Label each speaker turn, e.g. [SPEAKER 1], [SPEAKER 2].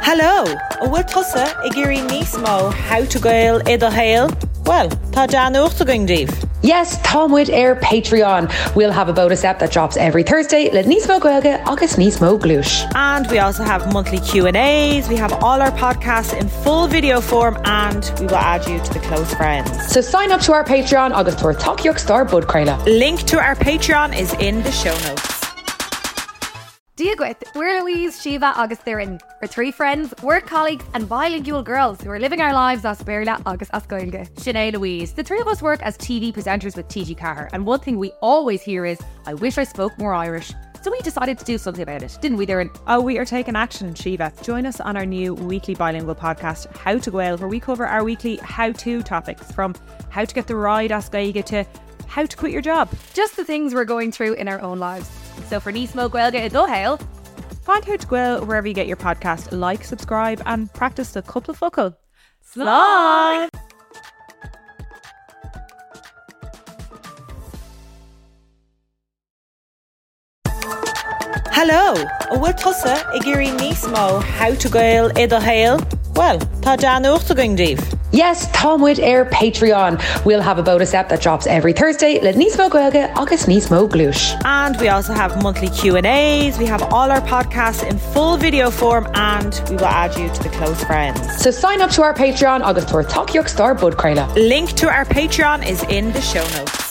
[SPEAKER 1] Hello, a bhfuil tusa i ggéirí níos mó hátagail iad a héal? Well, tá dean uachta going díobh.
[SPEAKER 2] Yes, Tomwood Air Patreon. We'll have a bonus app that drops every Thursday. Let Nismo Gwelga, August Nismo Glush.
[SPEAKER 1] And we also have monthly Q&As. We have all our podcasts in full video form and we will add you to the close friends.
[SPEAKER 2] So sign up to our Patreon, August Tor Talk York Star Bud Crayla.
[SPEAKER 1] Link to our Patreon is in the show notes.
[SPEAKER 3] Diagwith, we're Louise, Shiva, August Theron. We're three friends, work colleagues, and bilingual girls who are living our lives as Berla, August Ascoinga.
[SPEAKER 4] Sinead Louise. The three of us work as TV presenters with TG Carr, and one thing we always hear is, I wish I spoke more Irish. So we decided to do something about it, didn't we, Darren?
[SPEAKER 5] Oh, we are taking action, Shiva. Join us on our new weekly bilingual podcast, How to Gwale, where we cover our weekly how to topics from how to get the ride Ascaiga to how to quit your job.
[SPEAKER 3] Just the things we're going through in our own lives.
[SPEAKER 4] So for Nismo Gwelga Idohail,
[SPEAKER 5] Find How to Gwale wherever you get your podcast, like, subscribe, and practice the couple fuckle.
[SPEAKER 4] Slime!
[SPEAKER 1] Hello, a bhfuil tusa i ggéirí níos mó hátagail iad a héal? Well, tá dean uachta going díobh.
[SPEAKER 2] Yes, Tomwood Air Patreon. We'll have a bonus app that drops every Thursday. Let Nismo Gwelga, August Nismo Glush.
[SPEAKER 1] And we also have monthly Q&As. We have all our podcasts in full video form and we will add you to the close friends.
[SPEAKER 2] So sign up to our Patreon, August Tor Talk York Star Bud Crayla.
[SPEAKER 1] Link to our Patreon is in the show notes.